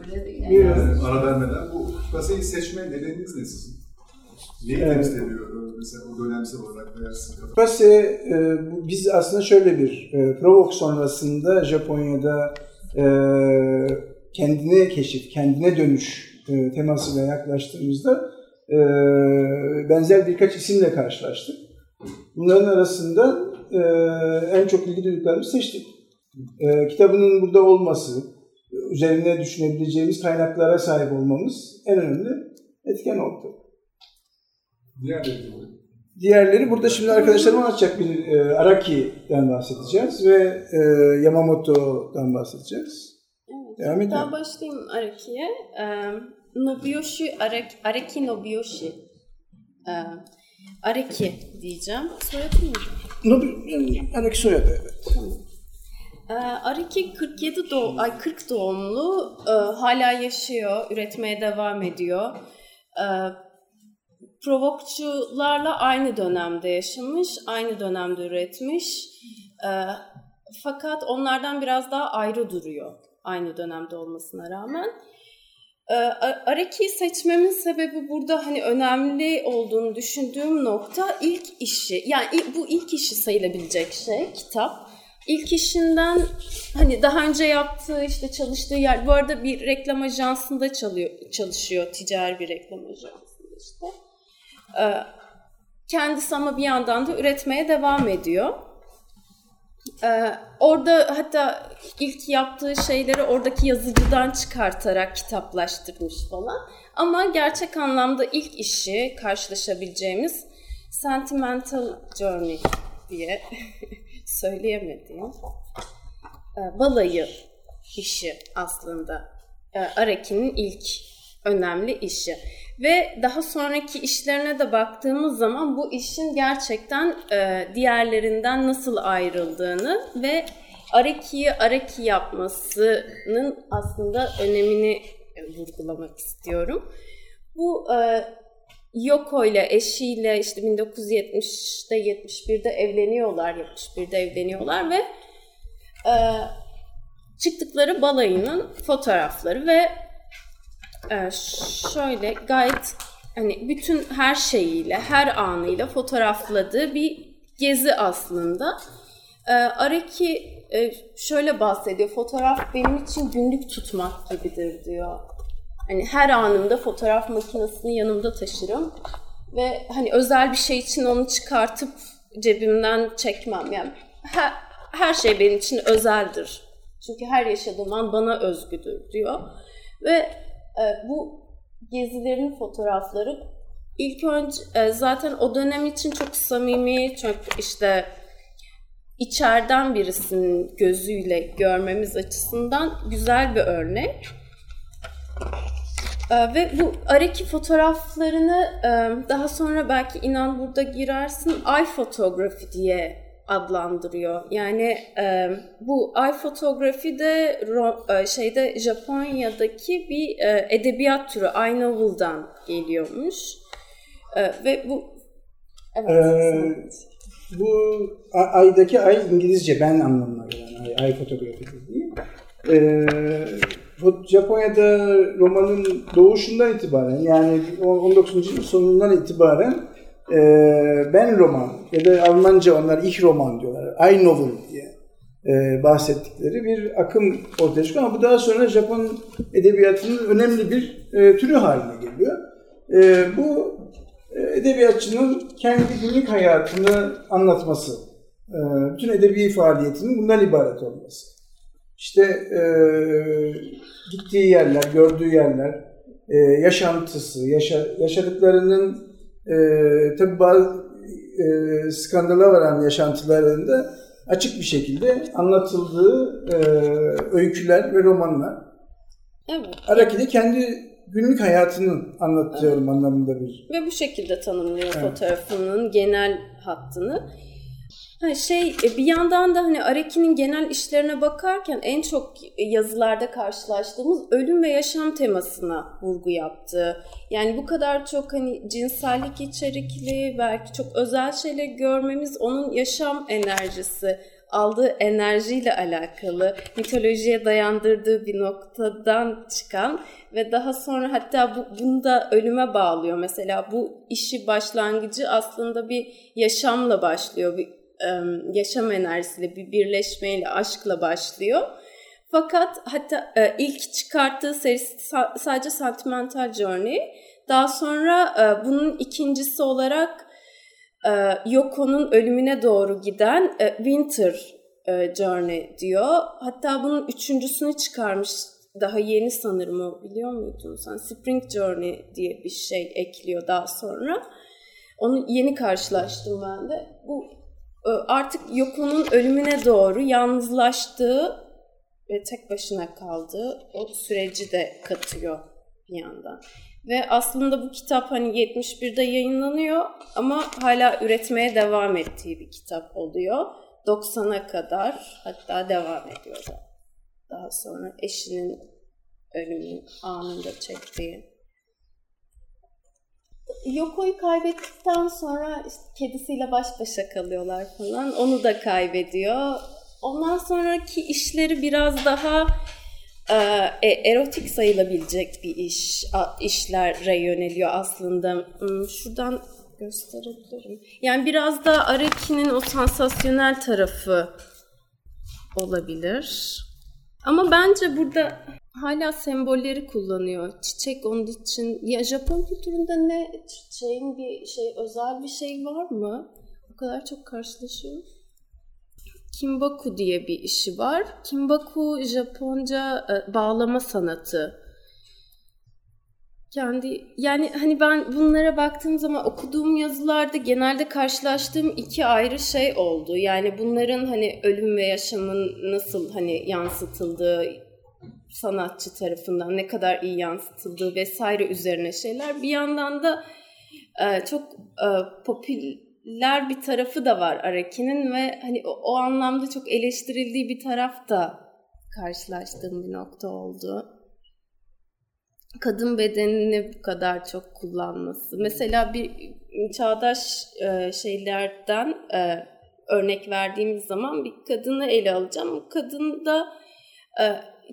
öyle değil. Bir- Yani. Evet. Ara vermeden bu kafayı seçme nedeniniz ne sizin? Neyi Evet. temsil ediyor e, mesela o dönemsel olarak veya sizin kafa? Kase e, bu- biz aslında şöyle bir e, Provoke sonrasında Japonya'da e, kendine keşif, kendine dönüş e, temasıyla yaklaştığımızda e, benzer birkaç isimle karşılaştık. Bunların arasında e, en çok ilgi duyduklarımızı seçtik. E, kitabının burada olması, üzerine düşünebileceğimiz kaynaklara sahip olmamız en önemli etken oldu. Diğer dediğim gibi. Diğerleri burada şimdi arkadaşlarım anlatacak bir e, Araki'den bahsedeceğiz ve e, Yamamoto'dan bahsedeceğiz. Evet. Devam Ben edelim. başlayayım Araki'ye. Ee, Nobuyoshi Araki, Araki Nobuyoshi. Ee, Araki diyeceğim. Soyadı mı? Nobu- Araki soyadı evet. Ee, Araki 47 doğ ay 40 doğumlu Ee, hala yaşıyor, üretmeye devam ediyor. Ee, provokçularla aynı dönemde yaşamış, aynı dönemde üretmiş. Ee, fakat onlardan biraz daha ayrı duruyor aynı dönemde olmasına rağmen. Ee, A- Araki'yi seçmemin sebebi burada hani önemli olduğunu düşündüğüm nokta ilk işi. Yani il- bu ilk işi sayılabilecek şey kitap. İlk işinden hani daha önce yaptığı işte çalıştığı yer bu arada bir reklam ajansında çalıyor, çalışıyor ticari bir reklam ajansında işte. Ee, kendisi ama bir yandan da üretmeye devam ediyor. Ee, orada hatta ilk yaptığı şeyleri oradaki yazıcıdan çıkartarak kitaplaştırmış falan. Ama gerçek anlamda ilk işi karşılaşabileceğimiz Sentimental Journey diye söyleyemediğim e, balayı işi aslında. E, Araki'nin ilk önemli işi. Ve daha sonraki işlerine de baktığımız zaman bu işin gerçekten e, diğerlerinden nasıl ayrıldığını ve Araki'yi Araki yapmasının aslında önemini e, vurgulamak istiyorum. Bu e, Yoko ile eşiyle işte 1970'te 71'de evleniyorlar, 71'de evleniyorlar ve e, çıktıkları balayının fotoğrafları ve e, şöyle gayet hani bütün her şeyiyle, her anıyla fotoğrafladığı bir gezi aslında. E, Araki e, şöyle bahsediyor, fotoğraf benim için günlük tutmak gibidir diyor. Hani her anımda fotoğraf makinesini yanımda taşırım ve hani özel bir şey için onu çıkartıp cebimden çekmem. Yani her, her şey benim için özeldir. Çünkü her yaşadığım an bana özgüdür diyor. Ve e, bu gezilerin fotoğrafları ilk önce e, zaten o dönem için çok samimi, çok işte içeriden birisinin gözüyle görmemiz açısından güzel bir örnek. Ee, ve bu Araki fotoğraflarını e, daha sonra belki inan burada girersin ay fotoğrafı diye adlandırıyor. Yani e, bu ay fotoğrafı de Ro- e, şeyde Japonya'daki bir e, edebiyat türü ay novel'dan geliyormuş. E, ve bu evet. Ee, Bu a- aydaki ay İngilizce ben anlamına gelen ay, ay fotoğrafı değil. Ee, bu Japonya'da romanın doğuşundan itibaren yani o- 19. yüzyıl sonundan itibaren e, ben roman ya da Almanca onlar ich roman diyorlar. Ay novel diye e, bahsettikleri bir akım ortaya çıkıyor ama bu daha sonra Japon edebiyatının önemli bir e, türü haline geliyor. E, bu e, edebiyatçının kendi günlük hayatını anlatması, e, bütün edebi faaliyetinin bundan ibaret olması. İşte e, gittiği yerler, gördüğü yerler, e, yaşantısı, yaşa- yaşadıklarının e, tabii bazı e, skandala varan yaşantılarında açık bir şekilde anlatıldığı e, öyküler ve romanlar. evet. Araki de kendi günlük hayatını anlatıyorum anlamında bir. Ve bu şekilde tanımlıyor Evet. fotoğrafının genel hattını. Ha şey e, bir yandan da hani Araki'nin genel işlerine bakarken en çok yazılarda karşılaştığımız ölüm ve yaşam temasına vurgu yaptı. Yani bu kadar çok hani cinsellik içerikli belki çok özel şeyler görmemiz onun yaşam enerjisi aldığı enerjiyle alakalı, mitolojiye dayandırdığı bir noktadan çıkan ve daha sonra hatta bu, bunu da ölüme bağlıyor. Mesela bu işi başlangıcı aslında bir yaşamla başlıyor. Bir em, yaşam enerjisiyle, bir birleşmeyle, aşkla başlıyor. Fakat hatta e, ilk çıkarttığı serisi sa- sadece Sentimental Journey. Daha sonra e, bunun ikincisi olarak e, Yoko'nun ölümüne doğru giden e, Winter e, Journey diyor. Hatta bunun üçüncüsünü çıkarmış daha yeni sanırım o biliyor muydun sen? Spring Journey diye bir şey ekliyor daha sonra. Onu yeni karşılaştım ben de. Bu e, artık Yoko'nun ölümüne doğru yalnızlaştığı ve tek başına kaldığı o süreci de katıyor bir yandan. Ve aslında bu kitap hani 71'de yayınlanıyor ama hala üretmeye devam ettiği bir kitap oluyor. 90'a kadar hatta devam ediyor da. Daha sonra eşinin ölümü anında çektiği. Yoko'yu kaybettikten sonra işte kedisiyle baş başa kalıyorlar falan. Onu da kaybediyor. Ondan sonraki işleri biraz daha e, erotik sayılabilecek bir iş a- işlere yöneliyor aslında. Hmm, Şuradan gösterebilirim. Yani biraz da Araki'nin o sansasyonel tarafı olabilir. Ama bence burada hala sembolleri kullanıyor. Çiçek onun için. Ya Japon kültüründe ne çiçeğin bir şey özel bir şey var mı? O kadar çok karşılaşıyoruz. Kimbaku diye bir işi var. Kimbaku Japonca e, bağlama sanatı. Kendi yani hani ben bunlara baktığım zaman okuduğum yazılarda genelde karşılaştığım iki ayrı şey oldu. Yani bunların hani ölüm ve yaşamın nasıl hani yansıtıldığı sanatçı tarafından ne kadar iyi yansıtıldığı vesaire üzerine şeyler. Bir yandan da e, çok e, popüler bir tarafı da var Araki'nin ve hani o, o anlamda çok eleştirildiği bir taraf da karşılaştığım bir nokta oldu. Kadın bedenini bu kadar çok kullanması. Mesela bir çağdaş e, şeylerden e, örnek verdiğimiz zaman bir kadını ele alacağım. Kadın da e,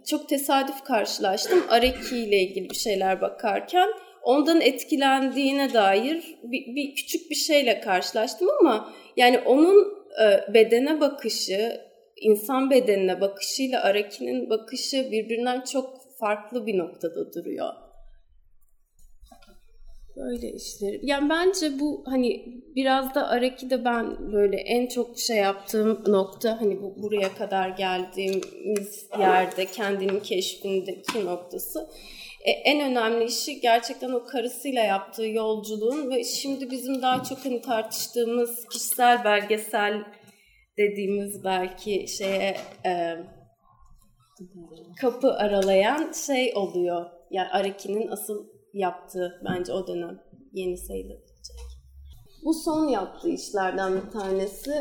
çok tesadüf karşılaştım. Areki ile ilgili bir şeyler bakarken ondan etkilendiğine dair bir, bir küçük bir şeyle karşılaştım ama yani onun e, bedene bakışı, insan bedenine bakışıyla Araki'nin bakışı birbirinden çok farklı bir noktada duruyor. Böyle işleri. Yani bence bu hani biraz da Araki'de ben böyle en çok şey yaptığım nokta hani bu buraya kadar geldiğimiz yerde kendimin keşfindeki noktası. E, en önemli işi gerçekten o karısıyla yaptığı yolculuğun ve şimdi bizim daha çok hani tartıştığımız kişisel belgesel dediğimiz belki şeye e, kapı aralayan şey oluyor. Yani Araki'nin asıl yaptığı bence o dönem yeni sayılabilecek. Bu son yaptığı işlerden bir tanesi.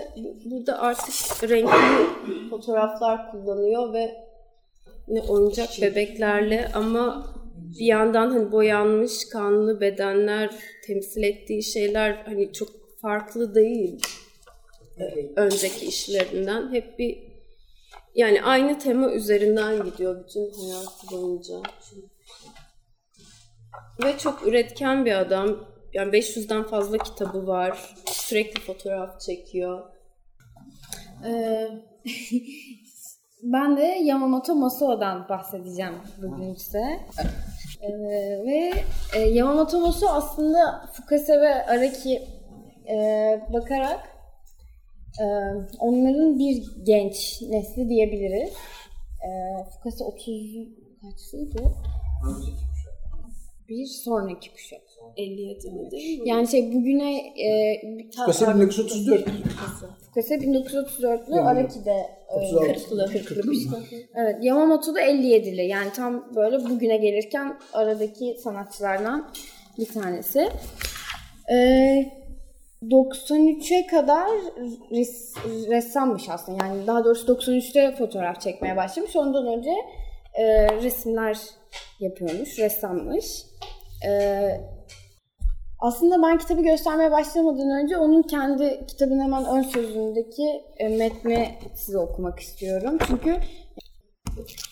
Burada artık renkli fotoğraflar kullanıyor ve ne oyuncak bebeklerle ama bir yandan hani boyanmış kanlı bedenler temsil ettiği şeyler hani çok farklı değil önceki işlerinden. Hep bir yani aynı tema üzerinden gidiyor bütün hayatı boyunca. Ve çok üretken bir adam. Yani 500'den fazla kitabı var. Sürekli fotoğraf çekiyor. Ee, ben de Yamamoto Maso'dan bahsedeceğim bugün size. Ee, ve e, Yamamoto Maso aslında Fukase ve Araki e, bakarak e, onların bir genç nesli diyebiliriz. E, Fukase 30 kaçlıydı? Bir sonraki kuşak. 57 mi değil mi? Yani şey bugüne e, bir ta- Kasım 1934. Fukase 1934'lü Yani Araki de e, 36. Evet, Yamamoto da 57'li. Yani tam böyle bugüne gelirken aradaki sanatçılardan bir tanesi. Ee, 93'e kadar res, ressammış aslında. Yani daha doğrusu 93'te fotoğraf çekmeye başlamış. Ondan önce e, resimler yapıyormuş, ressammış. Ee, Aslında ben kitabı göstermeye başlamadan önce onun kendi kitabın hemen ön sözündeki e, metni size okumak istiyorum. Çünkü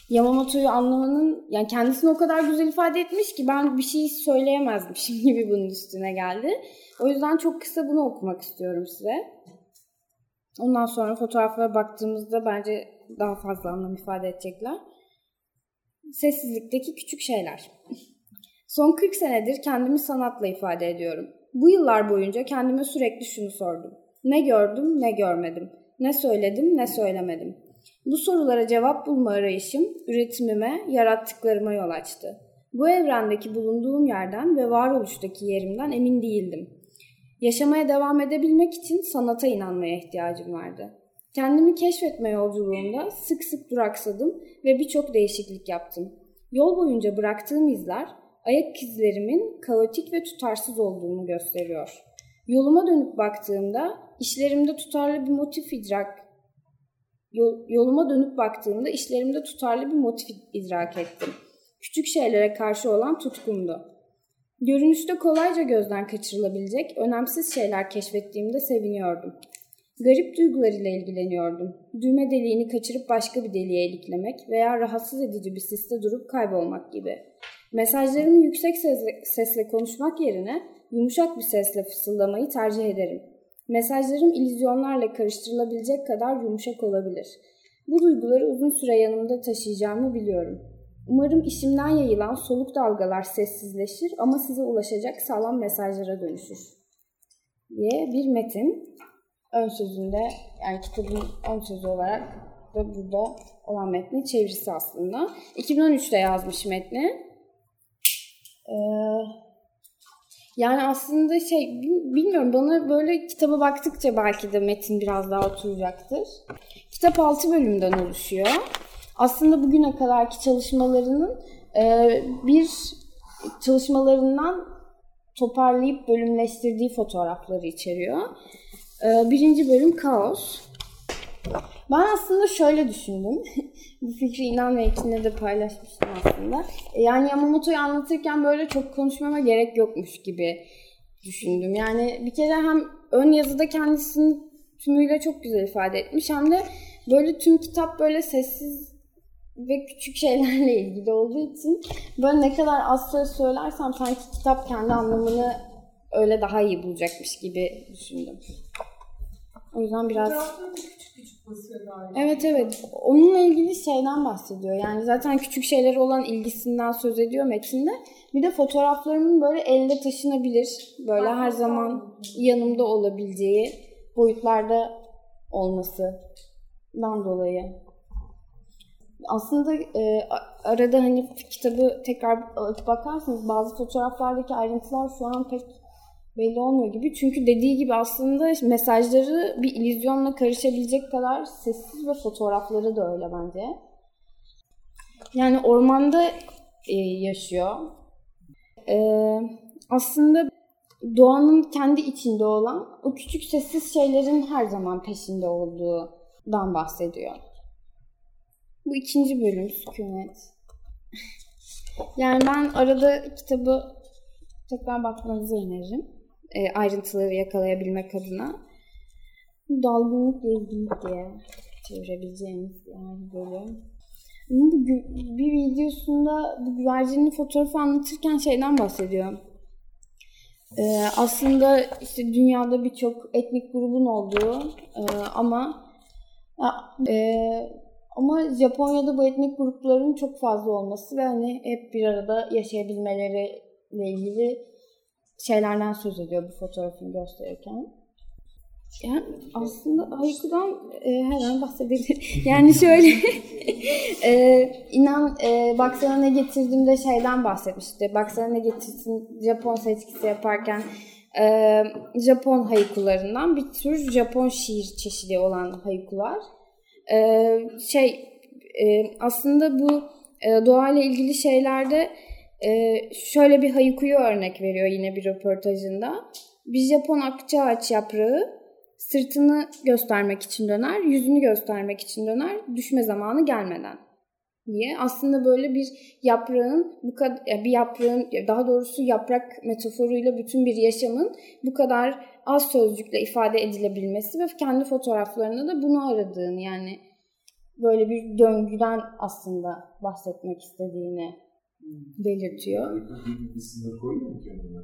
Yamamoto'yu anlamanın yani kendisini o kadar güzel ifade etmiş ki ben bir şey söyleyemezmişim gibi bunun üstüne geldi. O yüzden çok kısa bunu okumak istiyorum size. Ondan sonra fotoğraflara baktığımızda bence daha fazla anlam ifade edecekler. Sessizlikteki küçük şeyler. Son 40 senedir kendimi sanatla ifade ediyorum. Bu yıllar boyunca kendime sürekli şunu sordum. Ne gördüm, ne görmedim. Ne söyledim, ne söylemedim. Bu sorulara cevap bulma arayışım üretimime, yarattıklarıma yol açtı. Bu evrendeki bulunduğum yerden ve varoluştaki yerimden emin değildim. Yaşamaya devam edebilmek için sanata inanmaya ihtiyacım vardı. Kendimi keşfetme yolculuğunda sık sık duraksadım ve birçok değişiklik yaptım. Yol boyunca bıraktığım izler ayak izlerimin kaotik ve tutarsız olduğunu gösteriyor. Yoluma dönüp baktığımda işlerimde tutarlı bir motif idrak Yol- yoluma dönüp baktığımda işlerimde tutarlı bir motif idrak ettim. Küçük şeylere karşı olan tutkumdu. Görünüşte kolayca gözden kaçırılabilecek önemsiz şeyler keşfettiğimde seviniyordum. Garip duygularıyla ilgileniyordum. Düğme deliğini kaçırıp başka bir deliğe iliklemek veya rahatsız edici bir siste durup kaybolmak gibi. Mesajlarımı yüksek sesle- sesle konuşmak yerine yumuşak bir sesle fısıldamayı tercih ederim. Mesajlarım illüzyonlarla karıştırılabilecek kadar yumuşak olabilir. Bu duyguları uzun süre yanımda taşıyacağımı biliyorum. Umarım işimden yayılan soluk dalgalar sessizleşir ama size ulaşacak sağlam mesajlara dönüşür. diye bir metin. Ön sözünde yani kitabın ön sözü olarak da burada olan metni çevirisi aslında. 2013'te yazmış metni. Ee, yani aslında şey bil- bilmiyorum bana böyle kitaba baktıkça belki de metin biraz daha oturacaktır. Kitap 6 bölümden oluşuyor. Aslında bugüne kadarki çalışmalarının e, bir çalışmalarından toparlayıp bölümleştirdiği fotoğrafları içeriyor. E, birinci bölüm kaos. Ben aslında şöyle düşündüm. Bu fikri inan ve ikisine de paylaşmıştım aslında. Yani Yamamoto'yu anlatırken böyle çok konuşmama gerek yokmuş gibi düşündüm. Yani bir kere hem ön yazıda kendisini tümüyle çok güzel ifade etmiş hem de böyle tüm kitap böyle sessiz ve küçük şeylerle ilgili olduğu için böyle ne kadar az söz söylersem sanki kitap kendi anlamını öyle daha iyi bulacakmış gibi düşündüm. O yüzden biraz Fotoğrafları da küçük küçük basıyor galiba. Evet evet. Onunla ilgili şeyden bahsediyor. Yani zaten küçük şeylere olan ilgisinden söz ediyor metinde. Bir de fotoğraflarımın böyle elde taşınabilir, böyle her zaman yanımda olabileceği boyutlarda olmasından dolayı. Aslında e, a- arada hani kitabı tekrar alıp bakarsanız bazı fotoğraflardaki ayrıntılar şu an pek belli olmuyor gibi. Çünkü dediği gibi aslında mesajları bir illüzyonla karışabilecek kadar sessiz ve fotoğrafları da öyle bence. Yani ormanda e, yaşıyor. Ee, aslında doğanın kendi içinde olan o küçük sessiz şeylerin her zaman peşinde olduğundan bahsediyor. Bu ikinci bölüm sükunet. yani ben arada kitabı tekrar bakmanızı öneririm e, ayrıntıları yakalayabilmek adına dalgınlıkla ilgili diye çevirebileceğimiz yani bölüm. Bunun bir, gü- bir videosunda bu güvercinin fotoğrafı anlatırken şeyden bahsediyor. E, aslında işte dünyada birçok etnik grubun olduğu e, ama e, ama Japonya'da bu etnik grupların çok fazla olması ve hani hep bir arada yaşayabilmeleriyle ilgili şeylerden söz ediyor bu fotoğrafını gösterirken. Yani aslında Hayku'dan e, her an bahsedebilirim. Yani şöyle e, inan e, baksana ne getirdiğimde şeyden bahsetmişti. Baksana ne getirsin Japon seçkisi yaparken e, Japon haykularından bir tür Japon şiir çeşidi olan haykular. E, şey e, aslında bu e, doğayla ilgili şeylerde e, şöyle bir haykuyu örnek veriyor yine bir röportajında. Bir Japon akçaağaç yaprağı sırtını göstermek için döner, yüzünü göstermek için döner, düşme zamanı gelmeden diye. Aslında böyle bir yaprağın bu kadar bir yaprağın daha doğrusu yaprak metaforuyla bütün bir yaşamın bu kadar az sözcükle ifade edilebilmesi ve kendi fotoğraflarında da bunu aradığın yani böyle bir döngüden aslında bahsetmek istediğini belirtiyor. Bir sınır koyuyor mu kendine?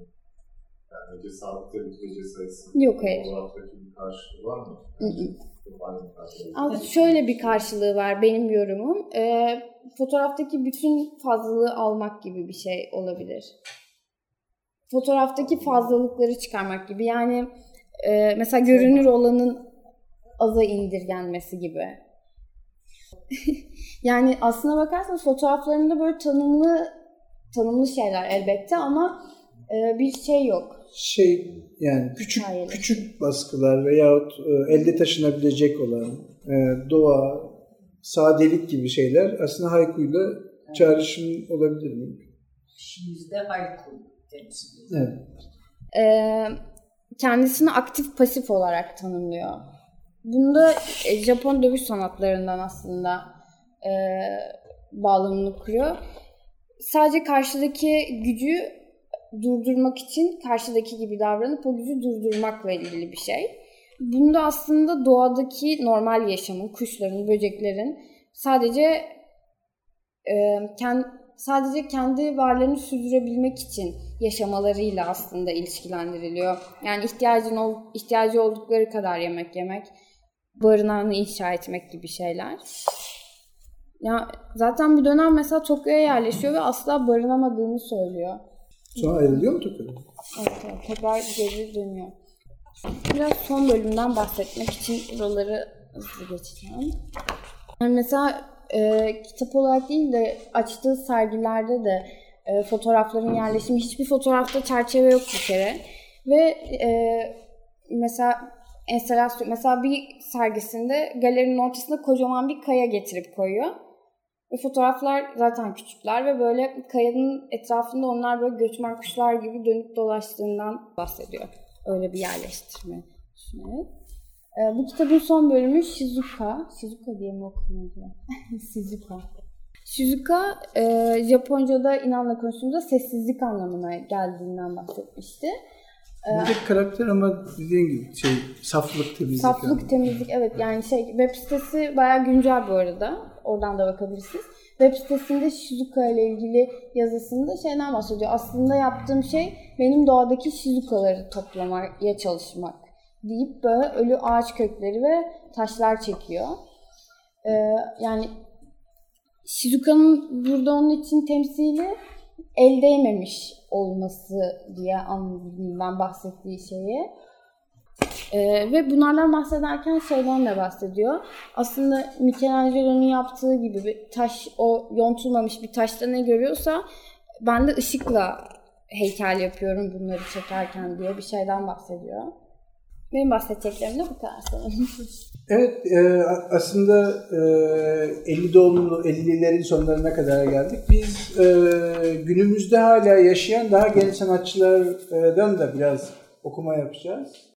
Yani gece sağlıkta bir gece sayısı. Yok, hayır. Fotoğraftaki bir karşılığı var mı? Hı hı. Toparlayın karşılığı. Az şöyle bir karşılığı var benim yorumum. Ee, fotoğraftaki bütün fazlalığı almak gibi bir şey olabilir. Fotoğraftaki fazlalıkları çıkarmak gibi. Yani e, mesela görünür olanın aza indirgenmesi gibi. yani aslına bakarsanız fotoğraflarında böyle tanımlı tanımlı şeyler elbette ama e, bir şey yok. şey yani küçük Hayır. küçük baskılar veyahut e, elde taşınabilecek olan e, doğa, sadelik gibi şeyler aslında haykuyla çağrışım olabilir mi? Şiirde haiku temsil ediyor. Evet. e, kendisini aktif pasif olarak tanımlıyor. Bunda e, Japon dövüş sanatlarından aslında e, bağlamını kuruyor. Sadece karşıdaki gücü durdurmak için karşıdaki gibi davranıp o gücü durdurmakla ilgili bir şey. Bunda aslında doğadaki normal yaşamın, kuşların, böceklerin sadece e, kend- sadece kendi varlığını sürdürebilmek için yaşamalarıyla aslında ilişkilendiriliyor. Yani ihtiyacın ol, ihtiyacı oldukları kadar yemek yemek, barınağını inşa etmek gibi şeyler. Ya zaten bir dönem mesela Tokyo'ya yerleşiyor ve asla barınamadığını söylüyor. Sonra ayrılıyor mu Tokyo'da? Evet, evet, tekrar geri dönüyor. Biraz son bölümden bahsetmek için buraları hızlı geçeceğim. Yani mesela e, kitap olarak değil de açtığı sergilerde de e, fotoğrafların yerleşimi. Hiçbir fotoğrafta çerçeve yok bir kere. Ve e, mesela enstalasyon, mesela bir sergisinde galerinin ortasına kocaman bir kaya getirip koyuyor. Ve fotoğraflar zaten küçükler ve böyle kayanın etrafında onlar böyle göçmen kuşlar gibi dönüp dolaştığından bahsediyor. Öyle bir yerleştirme düşünerek. Ee, bu kitabın son bölümü Shizuka. Shizuka diye mi okunuyor? Shizuka. Shizuka, e, Japonca'da inanla konuştuğumuzda sessizlik anlamına geldiğinden bahsetmişti. Ee, Bir tek karakter ama dediğin gibi şey saflık temizlik. Saflık, yani. temizlik evet yani şey web sitesi bayağı güncel bu arada. Oradan da bakabilirsiniz. Web sitesinde Shizuka ile ilgili yazısında şeyden bahsediyor. Aslında yaptığım şey benim doğadaki Shizuka'ları toplamaya çalışmak deyip böyle ölü ağaç kökleri ve taşlar çekiyor. Ee, yani Shizuka'nın burada onun için temsili el değmemiş olması diye anladım ben bahsettiği şeyi. Ee, ve bunlardan bahsederken şeyden de bahsediyor. Aslında Michelangelo'nun yaptığı gibi bir taş, o yontulmamış bir taşta ne görüyorsa ben de ışıkla heykel yapıyorum bunları çekerken diye bir şeyden bahsediyor. Benim bahsedeceklerim de bu kadar sanırım. Evet e, a- aslında e, 50 doğumlu 50'lerin sonlarına kadar geldik. Biz e, günümüzde hala yaşayan daha genç sanatçılardan da biraz okuma yapacağız.